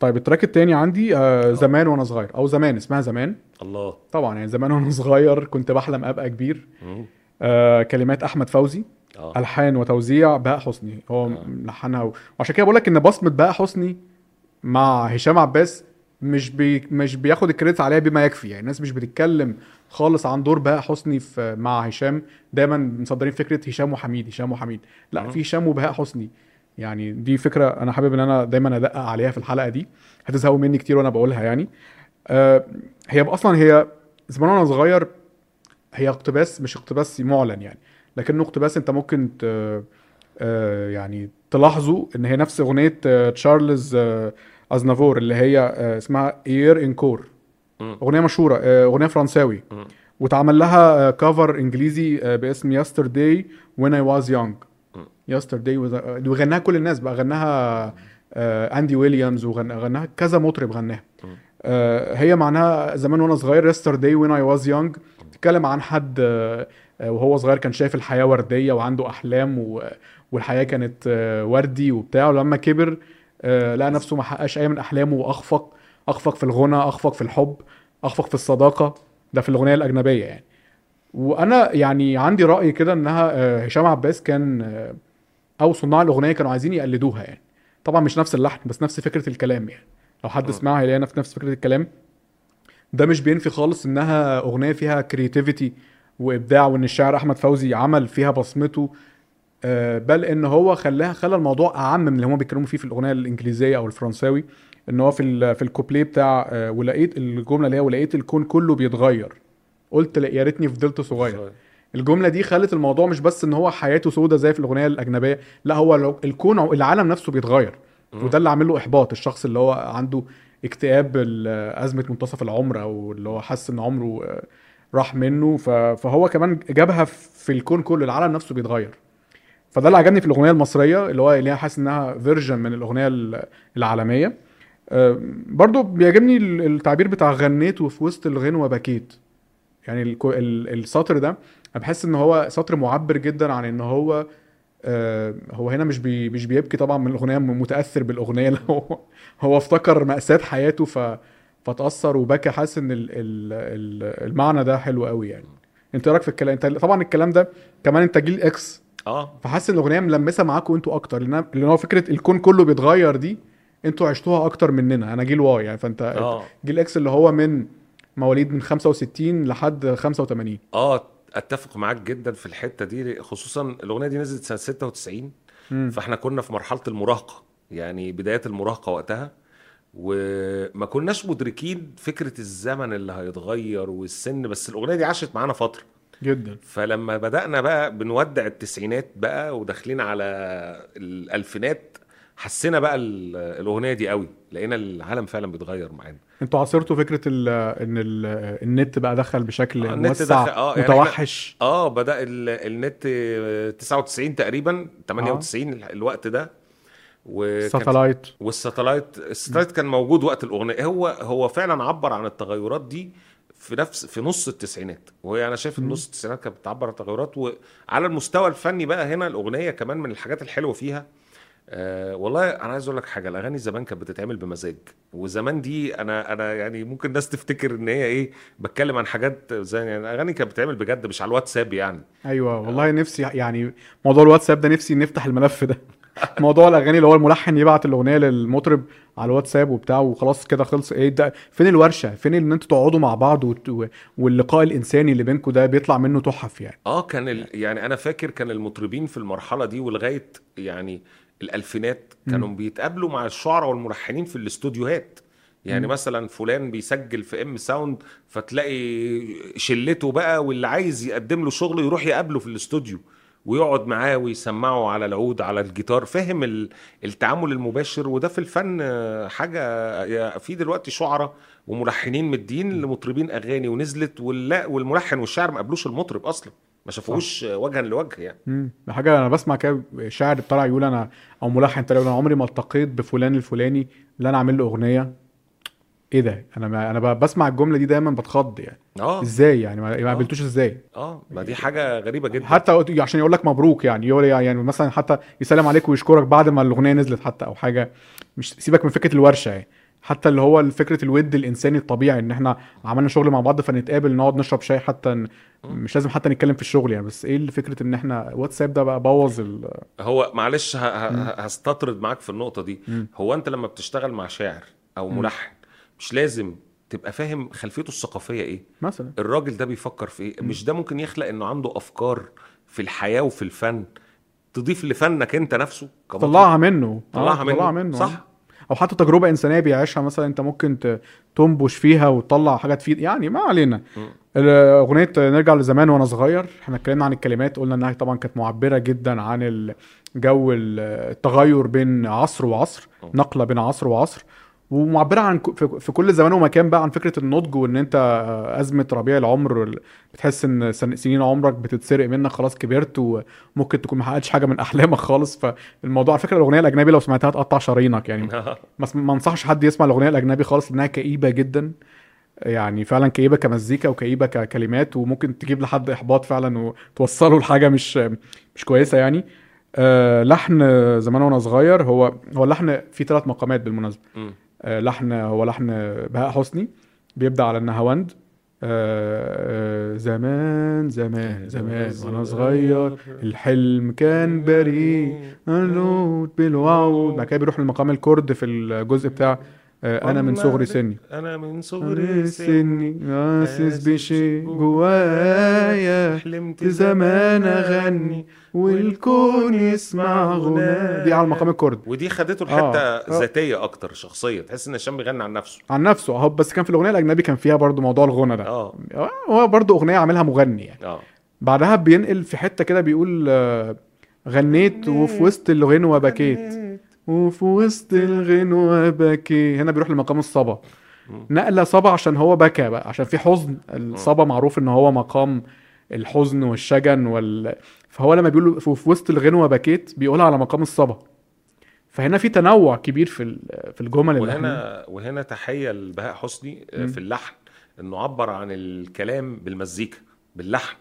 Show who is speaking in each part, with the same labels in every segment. Speaker 1: طيب التراك التاني عندي آه زمان وانا صغير او زمان اسمها زمان
Speaker 2: الله
Speaker 1: طبعا يعني زمان وانا صغير كنت بحلم ابقى كبير
Speaker 2: مم.
Speaker 1: آه كلمات احمد فوزي
Speaker 2: اه
Speaker 1: الحان وتوزيع بهاء حسني هو
Speaker 2: آه.
Speaker 1: ملحنها و- وعشان كده بقول لك ان بصمه بهاء حسني مع هشام عباس مش بي مش بياخد الكريدت عليها بما يكفي يعني الناس مش بتتكلم خالص عن دور بهاء حسني في مع هشام دايما مصدرين فكره هشام وحميد هشام وحميد لا
Speaker 2: مم.
Speaker 1: في هشام وبهاء حسني يعني دي فكره انا حابب ان انا دايما ادقق عليها في الحلقه دي هتزهقوا مني كتير وانا بقولها يعني آه، هي اصلا هي زمان وانا صغير هي اقتباس مش اقتباس معلن يعني لكنه اقتباس انت ممكن ت... آه، يعني تلاحظوا ان هي نفس اغنيه آه، تشارلز آه، ازنافور اللي هي آه، اسمها اير ان كور
Speaker 2: مم.
Speaker 1: اغنيه مشهوره آه، اغنيه فرنساوي
Speaker 2: مم.
Speaker 1: واتعمل لها كفر انجليزي آه، باسم ياسترداي وين اي واز يونج
Speaker 2: مم.
Speaker 1: ياسترداي آه, وغناها كل الناس بقى غناها آه، اندي ويليامز وغناها كذا مطرب غناها
Speaker 2: مم.
Speaker 1: آه، هي معناها زمان وانا صغير يسترداي وين اي واز يونج بتتكلم عن حد آه، آه، وهو صغير كان شايف الحياه ورديه وعنده احلام و- والحياه كانت آه، وردي وبتاع ولما كبر آه، لقى نفسه ما حققش اي من احلامه واخفق اخفق في الغنى اخفق في الحب اخفق في الصداقه ده في الاغنيه الاجنبيه يعني وانا يعني عندي راي كده انها آه، هشام عباس كان آه، او صناع الاغنيه كانوا عايزين يقلدوها يعني طبعا مش نفس اللحن بس نفس فكره الكلام يعني لو حد
Speaker 2: م.
Speaker 1: سمعها هيلاقي نفس نفس فكره الكلام ده مش بينفي خالص انها اغنيه فيها كرياتيفيتي وابداع وان الشاعر احمد فوزي عمل فيها بصمته آه، بل ان هو خلاها خلى الموضوع اعم من اللي هما بيتكلموا فيه في الاغنيه الانجليزيه او الفرنساوي ان هو في ال- في الكوبليه بتاع آه، ولقيت الجمله اللي هي ولقيت الكون كله بيتغير قلت لا- يا ريتني فضلت صغير الجمله دي خلت الموضوع مش بس ان هو حياته سودة زي في الاغنيه الاجنبيه لا هو لو- الكون أو العالم نفسه بيتغير
Speaker 2: مم.
Speaker 1: وده اللي عامل له احباط الشخص اللي هو عنده اكتئاب ال- ازمه منتصف العمر او اللي هو حس ان عمره آه، راح منه ف- فهو كمان جابها في الكون كله العالم نفسه بيتغير فده اللي عجبني في الاغنيه المصريه اللي هو اللي أنا حاسس انها فيرجن من الاغنيه ال- العالميه آه، برضو بيعجبني ال- التعبير بتاع غنيت وفي وسط الغنوه بكيت يعني الكو- ال- السطر ده انا بحس ان هو سطر معبر جدا عن ان هو آه، هو هنا مش بي مش بيبكي طبعا من الاغنيه متاثر بالاغنيه اللي هو هو افتكر ماساه حياته ف فتاثر وبكى حاسس ان ال ال ال المعنى ده حلو قوي يعني انت إيه رايك في الكلام انت طبعا الكلام ده كمان انت جيل اكس
Speaker 2: اه
Speaker 1: فحاسس ان الاغنيه ملمسه معاكم انتوا اكتر لان لأن هو فكره الكون كله بيتغير دي انتوا عشتوها اكتر مننا انا جيل واي يعني فانت
Speaker 2: اه
Speaker 1: جيل اكس اللي هو من مواليد من 65 لحد 85
Speaker 2: اه اتفق معاك جدا في الحته دي خصوصا الاغنيه دي نزلت سنه 96
Speaker 1: مم.
Speaker 2: فاحنا كنا في مرحله المراهقه يعني بدايه المراهقه وقتها وما كناش مدركين فكره الزمن اللي هيتغير والسن بس الاغنيه دي عاشت معانا فتره
Speaker 1: جدا
Speaker 2: فلما بدأنا بقى بنودع التسعينات بقى وداخلين على الألفينات حسينا بقى ال- الأغنية دي قوي لقينا العالم فعلا بيتغير معانا
Speaker 1: انتوا عاصرتوا فكره ال ان ال النت بقى دخل بشكل
Speaker 2: آه،
Speaker 1: آه
Speaker 2: النت
Speaker 1: موسع
Speaker 2: دخل- آه، يعني إحنا-
Speaker 1: متوحش
Speaker 2: اه بدأ ال- النت آه، 99 تقريبا 98 الح- الوقت ده وكان
Speaker 1: ساتلايت
Speaker 2: والساتلايت الساتلايت كان موجود وقت الاغنيه هو هو فعلا عبر عن التغيرات دي في نفس في نص التسعينات وهي انا شايف ان
Speaker 1: مم.
Speaker 2: نص التسعينات كانت بتعبر عن التغيرات وعلى المستوى الفني بقى هنا الاغنيه كمان من الحاجات الحلوه فيها آه والله انا عايز اقول لك حاجه الاغاني زمان كانت بتتعمل بمزاج وزمان دي انا انا يعني ممكن الناس تفتكر ان هي ايه بتكلم عن حاجات زي يعني الاغاني كانت بتتعمل بجد مش على الواتساب يعني
Speaker 1: ايوه والله نفسي يعني موضوع الواتساب ده نفسي نفتح الملف ده موضوع الاغاني اللي هو الملحن يبعت الاغنيه للمطرب على الواتساب وبتاع وخلاص كده خلص ايه ده فين الورشه فين ان انتوا تقعدوا مع بعض وت- و- واللقاء الانساني اللي بينكم ده بيطلع منه تحف يعني
Speaker 2: اه كان ال... يعني انا فاكر كان المطربين في المرحله دي ولغايه يعني الالفينات كانوا بيتقابلوا مع الشعراء والملحنين في الاستوديوهات يعني
Speaker 1: مم.
Speaker 2: مثلا فلان بيسجل في ام ساوند فتلاقي شلته بقى واللي عايز يقدم له شغل يروح يقابله في الاستوديو ويقعد معاه ويسمعه على العود على الجيتار فهم ال- التعامل المباشر وده في الفن آه، حاجه يا- في دلوقتي شعراء وملحنين مدين لمطربين اغاني ونزلت واللا والملحن والشاعر ما قابلوش المطرب اصلا ما شافوهوش وجها لوجه يعني
Speaker 1: امم ده حاجه انا بسمع كده شاعر طالع يقول انا او ملحن طالع يقول انا عمري ما التقيت بفلان الفلاني اللي انا عامل له اغنيه ايه ده انا ما انا ب- بسمع الجمله دي دايما بتخض يعني
Speaker 2: اه
Speaker 1: ازاي يعني ما ما قابلتوش ازاي
Speaker 2: اه ما دي حاجه غريبه جدا
Speaker 1: حتى وقت- عشان يقول لك مبروك يعني يقول يعني مثلا حتى يسلم عليك ويشكرك بعد ما الاغنيه نزلت حتى او حاجه مش سيبك من فكره الورشه يعني حتى اللي هو فكره الود الانساني الطبيعي ان احنا عملنا شغل مع بعض فنتقابل نقعد نشرب شاي حتى ن... مش لازم حتى نتكلم في الشغل يعني بس ايه اللي فكره ان احنا واتساب ده بقى بوظ ال...
Speaker 2: هو معلش ه- ه- هستطرد معاك في النقطه دي
Speaker 1: مم.
Speaker 2: هو انت لما بتشتغل مع شاعر او
Speaker 1: مم.
Speaker 2: ملحن مش لازم تبقى فاهم خلفيته الثقافيه ايه
Speaker 1: مثلا
Speaker 2: الراجل ده بيفكر في ايه مش ده ممكن يخلق انه عنده افكار في الحياه وفي الفن تضيف لفنك انت نفسه كمطرب.
Speaker 1: طلعها منه آه،
Speaker 2: طلعها منه,
Speaker 1: طلعها منه آه.
Speaker 2: صح
Speaker 1: او حتى تجربه انسانيه بيعيشها مثلا انت ممكن ت- تنبش فيها وتطلع حاجه تفيد يعني ما علينا
Speaker 2: مم.
Speaker 1: اغنيه نرجع لزمان وانا صغير احنا اتكلمنا عن الكلمات قلنا انها طبعا كانت معبره جدا عن الجو ال- التغير بين عصر وعصر
Speaker 2: مم.
Speaker 1: نقله بين عصر وعصر ومعبره عن ك- في- في كل زمان ومكان بقى عن فكره النضج وان انت ازمه ربيع العمر ال- بتحس ان سن- سنين عمرك بتتسرق منك خلاص كبرت وممكن تكون ما حققتش حاجه من احلامك خالص فالموضوع على فكره الاغنيه الاجنبي لو سمعتها تقطع شرايينك يعني
Speaker 2: آه.
Speaker 1: ما اسم- ما انصحش حد يسمع الاغنيه الاجنبي خالص لانها كئيبه جدا يعني فعلا كئيبه كمزيكا وكئيبه ككلمات وممكن تجيب لحد احباط فعلا وتوصله لحاجه مش مش كويسه يعني آه لحن زمان وانا صغير هو هو اللحن فيه ثلاث مقامات بالمناسبه
Speaker 2: مم.
Speaker 1: آه لحن هو لحن بهاء حسني بيبدا على النهاوند آه آه زمان زمان زمان وانا صغير الحلم كان بريء الوت بالواو بعد كده بيروح لمقام الكرد في الجزء بتاع آه، انا من صغري سني
Speaker 2: انا من
Speaker 1: صغري
Speaker 2: صغري سن
Speaker 1: سني حاسس بشيء جوايا
Speaker 2: حلمت
Speaker 1: زمان اغني والكون يسمع غناي دي على مقام الكرد
Speaker 2: ودي خدته
Speaker 1: آه،
Speaker 2: لحته
Speaker 1: آه.
Speaker 2: ذاتيه اكتر شخصيه تحس ان هشام بيغني عن نفسه
Speaker 1: عن نفسه اهو بس كان في الاغنيه الاجنبي كان فيها برضو موضوع الغنى ده
Speaker 2: اه
Speaker 1: آه، هو برضو اغنيه عاملها مغني يعني
Speaker 2: اه
Speaker 1: بعدها بينقل في حته كده بيقول آه، غنيت وفي وسط الغنوه بكيت وفي وسط الغنوة بكي هنا بيروح لمقام الصبا
Speaker 2: مم.
Speaker 1: نقلة صبا عشان هو بكى بقى عشان في حزن الصبا معروف ان هو مقام الحزن والشجن وال... فهو لما بيقول في وسط الغنوة بكيت بيقولها على مقام الصبا فهنا في تنوع كبير في ال- في الجمل اللي احنا
Speaker 2: وهنا وهنا تحيه لبهاء حسني آه،
Speaker 1: مم.
Speaker 2: في اللحن انه عبر عن الكلام بالمزيكا باللحن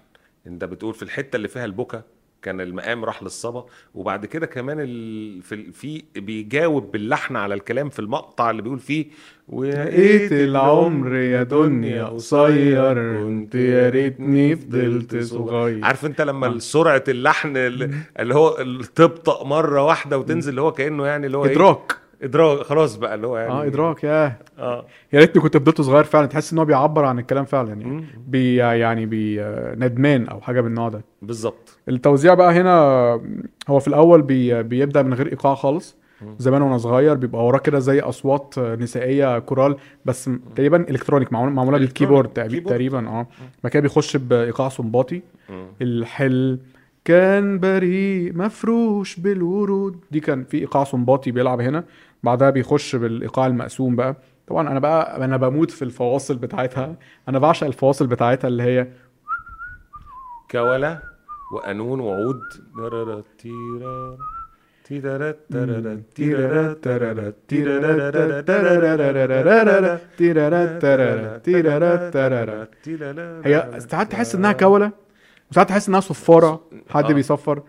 Speaker 2: انت بتقول في الحته اللي فيها البكا كان المقام راح للصبا وبعد كده كمان ال... في ال- في بيجاوب باللحن على الكلام في المقطع اللي بيقول فيه ويا
Speaker 1: لقيت العمر يا دنيا قصير كنت يا ريتني فضلت صغير
Speaker 2: عارف انت
Speaker 1: آه.
Speaker 2: لما سرعه اللحن اللي اللي هو اللي تبطا مره واحده وتنزل اللي هو كانه يعني اللي هو إيه؟
Speaker 1: ادراك
Speaker 2: ادراك خلاص بقى اللي هو يعني
Speaker 1: اه ادراك ياه
Speaker 2: اه
Speaker 1: يا ريتني كنت فضلت صغير فعلا تحس ان هو بيعبر عن الكلام فعلا يعني
Speaker 2: مم.
Speaker 1: بي يعني بي ندمان او حاجه من النوع ده
Speaker 2: بالظبط
Speaker 1: التوزيع بقى هنا هو في الاول بي بيبدا من غير ايقاع خالص
Speaker 2: مم.
Speaker 1: زمان وانا صغير بيبقى وراه كده زي اصوات نسائيه كورال بس م- تقريبا الكترونيك معمول- معموله
Speaker 2: إلكترونيك،
Speaker 1: بالكيبورد تقريبا
Speaker 2: كيبورد.
Speaker 1: تقريبا اه بعد كده بيخش بايقاع سنباطي الحلم كان بريء مفروش بالورود دي كان في ايقاع سنباطي بيلعب هنا بعدها بيخش بالايقاع المقسوم بقى طبعا انا بقى انا بموت في الفواصل بتاعتها انا بعشق الفواصل بتاعتها اللي هي
Speaker 2: كولا وقانون وعود درارا تيرا تيرا تيرا تيرا تيرا تيرا تيرا
Speaker 1: هي ساعات تحس انها كوله وساعات تحس انها صفاره حد
Speaker 2: آه.
Speaker 1: بيصفر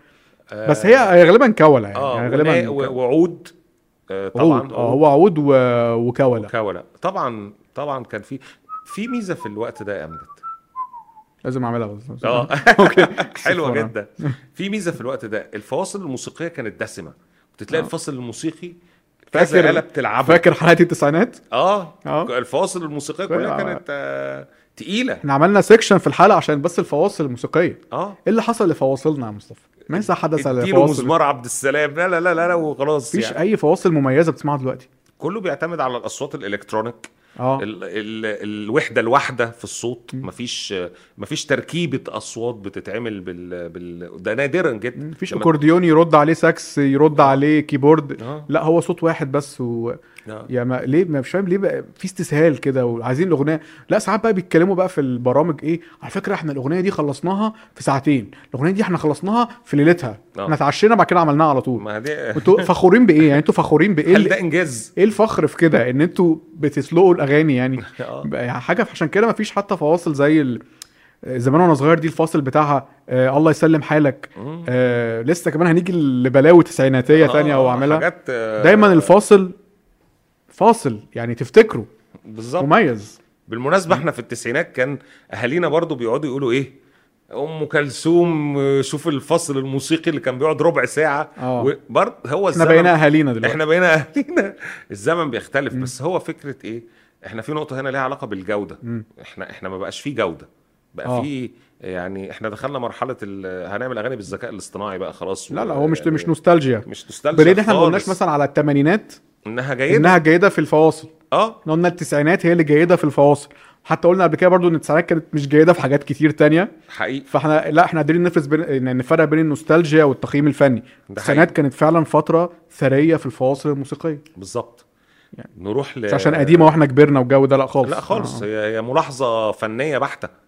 Speaker 1: بس هي هي غالبا كوله يعني,
Speaker 2: اه
Speaker 1: يعني غالبا
Speaker 2: ونا- و- وعود آه، طبعا
Speaker 1: عود آه، هو عود و- وكوله
Speaker 2: كولا طبعا طبعا كان في في ميزه في الوقت ده يا امجد
Speaker 1: لازم اعملها بس
Speaker 2: اه
Speaker 1: اوكي
Speaker 2: حلوه
Speaker 1: صفارة.
Speaker 2: جدا في ميزه في الوقت ده الفواصل الموسيقيه كانت دسمه بتلاقي
Speaker 1: آه.
Speaker 2: الفصل الموسيقي
Speaker 1: فاكر-
Speaker 2: كذا آلة بتلعبها
Speaker 1: فاكر حلقه التسعينات
Speaker 2: اه
Speaker 1: اه
Speaker 2: الفواصل الموسيقيه
Speaker 1: كويس.
Speaker 2: كلها كانت آه، تقيله
Speaker 1: احنا عملنا سيكشن في الحلقه عشان بس الفواصل الموسيقيه
Speaker 2: اه
Speaker 1: ايه اللي حصل لفواصلنا يا مصطفى ماذا حدث
Speaker 2: اديله
Speaker 1: لفواصل
Speaker 2: مزمار يعني. عبد السلام لا لا لا لا, لا وخلاص
Speaker 1: مفيش
Speaker 2: يعني.
Speaker 1: اي فواصل مميزه بتسمعها دلوقتي
Speaker 2: كله بيعتمد على الاصوات الالكترونيك
Speaker 1: اه
Speaker 2: ال ال الوحده الواحده في الصوت مفيش مفيش تركيبه اصوات بتتعمل بال, بال... ده نادرا جدا
Speaker 1: مفيش
Speaker 2: لما-
Speaker 1: اكورديون يرد عليه ساكس يرد عليه كيبورد
Speaker 2: اه
Speaker 1: لا هو صوت واحد بس و...
Speaker 2: آه.
Speaker 1: يا ما ليه ما مش فاهم ليه بقى في استسهال كده وعايزين الاغنيه لا ساعات بقى بيتكلموا بقى في البرامج ايه على فكره احنا الاغنيه دي خلصناها في ساعتين الاغنيه دي احنا خلصناها في ليلتها
Speaker 2: آه.
Speaker 1: احنا اتعشينا بعد كده عملناها على طول
Speaker 2: ما دي
Speaker 1: انتوا فخورين بايه يعني انتوا فخورين بايه
Speaker 2: هل ده
Speaker 1: إيه اللي...
Speaker 2: انجاز؟
Speaker 1: ايه الفخر في كده ان انتوا بتسلقوا الاغاني يعني
Speaker 2: آه.
Speaker 1: بقى حاجه عشان كده مفيش حتى فواصل زي ال... زمان وانا صغير دي الفاصل بتاعها آه الله يسلم حالك
Speaker 2: مم.
Speaker 1: آه لسه كمان هنيجي لبلاوي تسعيناتيه
Speaker 2: آه،
Speaker 1: تانية
Speaker 2: آه،
Speaker 1: واعملها
Speaker 2: حاجات آه،
Speaker 1: دايما الفاصل فاصل يعني تفتكره
Speaker 2: بالظبط
Speaker 1: مميز
Speaker 2: بالمناسبه احنا في التسعينات كان اهالينا برضو بيقعدوا يقولوا ايه ام كلثوم آه، شوف الفصل الموسيقي اللي كان بيقعد ربع ساعه
Speaker 1: آه.
Speaker 2: وبرضه هو
Speaker 1: احنا
Speaker 2: الزمن
Speaker 1: بقينا اهالينا دلوقتي
Speaker 2: احنا بقينا اهالينا الزمن بيختلف بس هو فكره ايه احنا في نقطه هنا ليها علاقه بالجوده
Speaker 1: مم.
Speaker 2: احنا احنا ما بقاش في جوده بقى
Speaker 1: آه.
Speaker 2: في يعني احنا دخلنا مرحله ال- هنعمل اغاني بالذكاء الاصطناعي بقى خلاص
Speaker 1: لا لا هو مش
Speaker 2: يعني
Speaker 1: مش نوستالجيا
Speaker 2: مش نوستالجيا
Speaker 1: بليد احنا ما قلناش
Speaker 2: خالص. إيه
Speaker 1: مثلا على الثمانينات
Speaker 2: انها جيده
Speaker 1: انها جيده في الفواصل
Speaker 2: اه
Speaker 1: احنا قلنا التسعينات هي اللي جيده في الفواصل حتى قلنا قبل كده برضو ان التسعينات كانت مش جيده في حاجات كتير تانية
Speaker 2: حقيقي
Speaker 1: فاحنا لا احنا قادرين نفرز بين يعني نفرق بين النوستالجيا والتقييم الفني التسعينات كانت فعلا فتره ثريه في الفواصل الموسيقيه
Speaker 2: بالظبط
Speaker 1: يعني.
Speaker 2: نروح ل
Speaker 1: مش عشان قديمه واحنا كبرنا والجو ده لا خالص
Speaker 2: لا خالص
Speaker 1: آه.
Speaker 2: هي هي ملاحظه فنيه بحته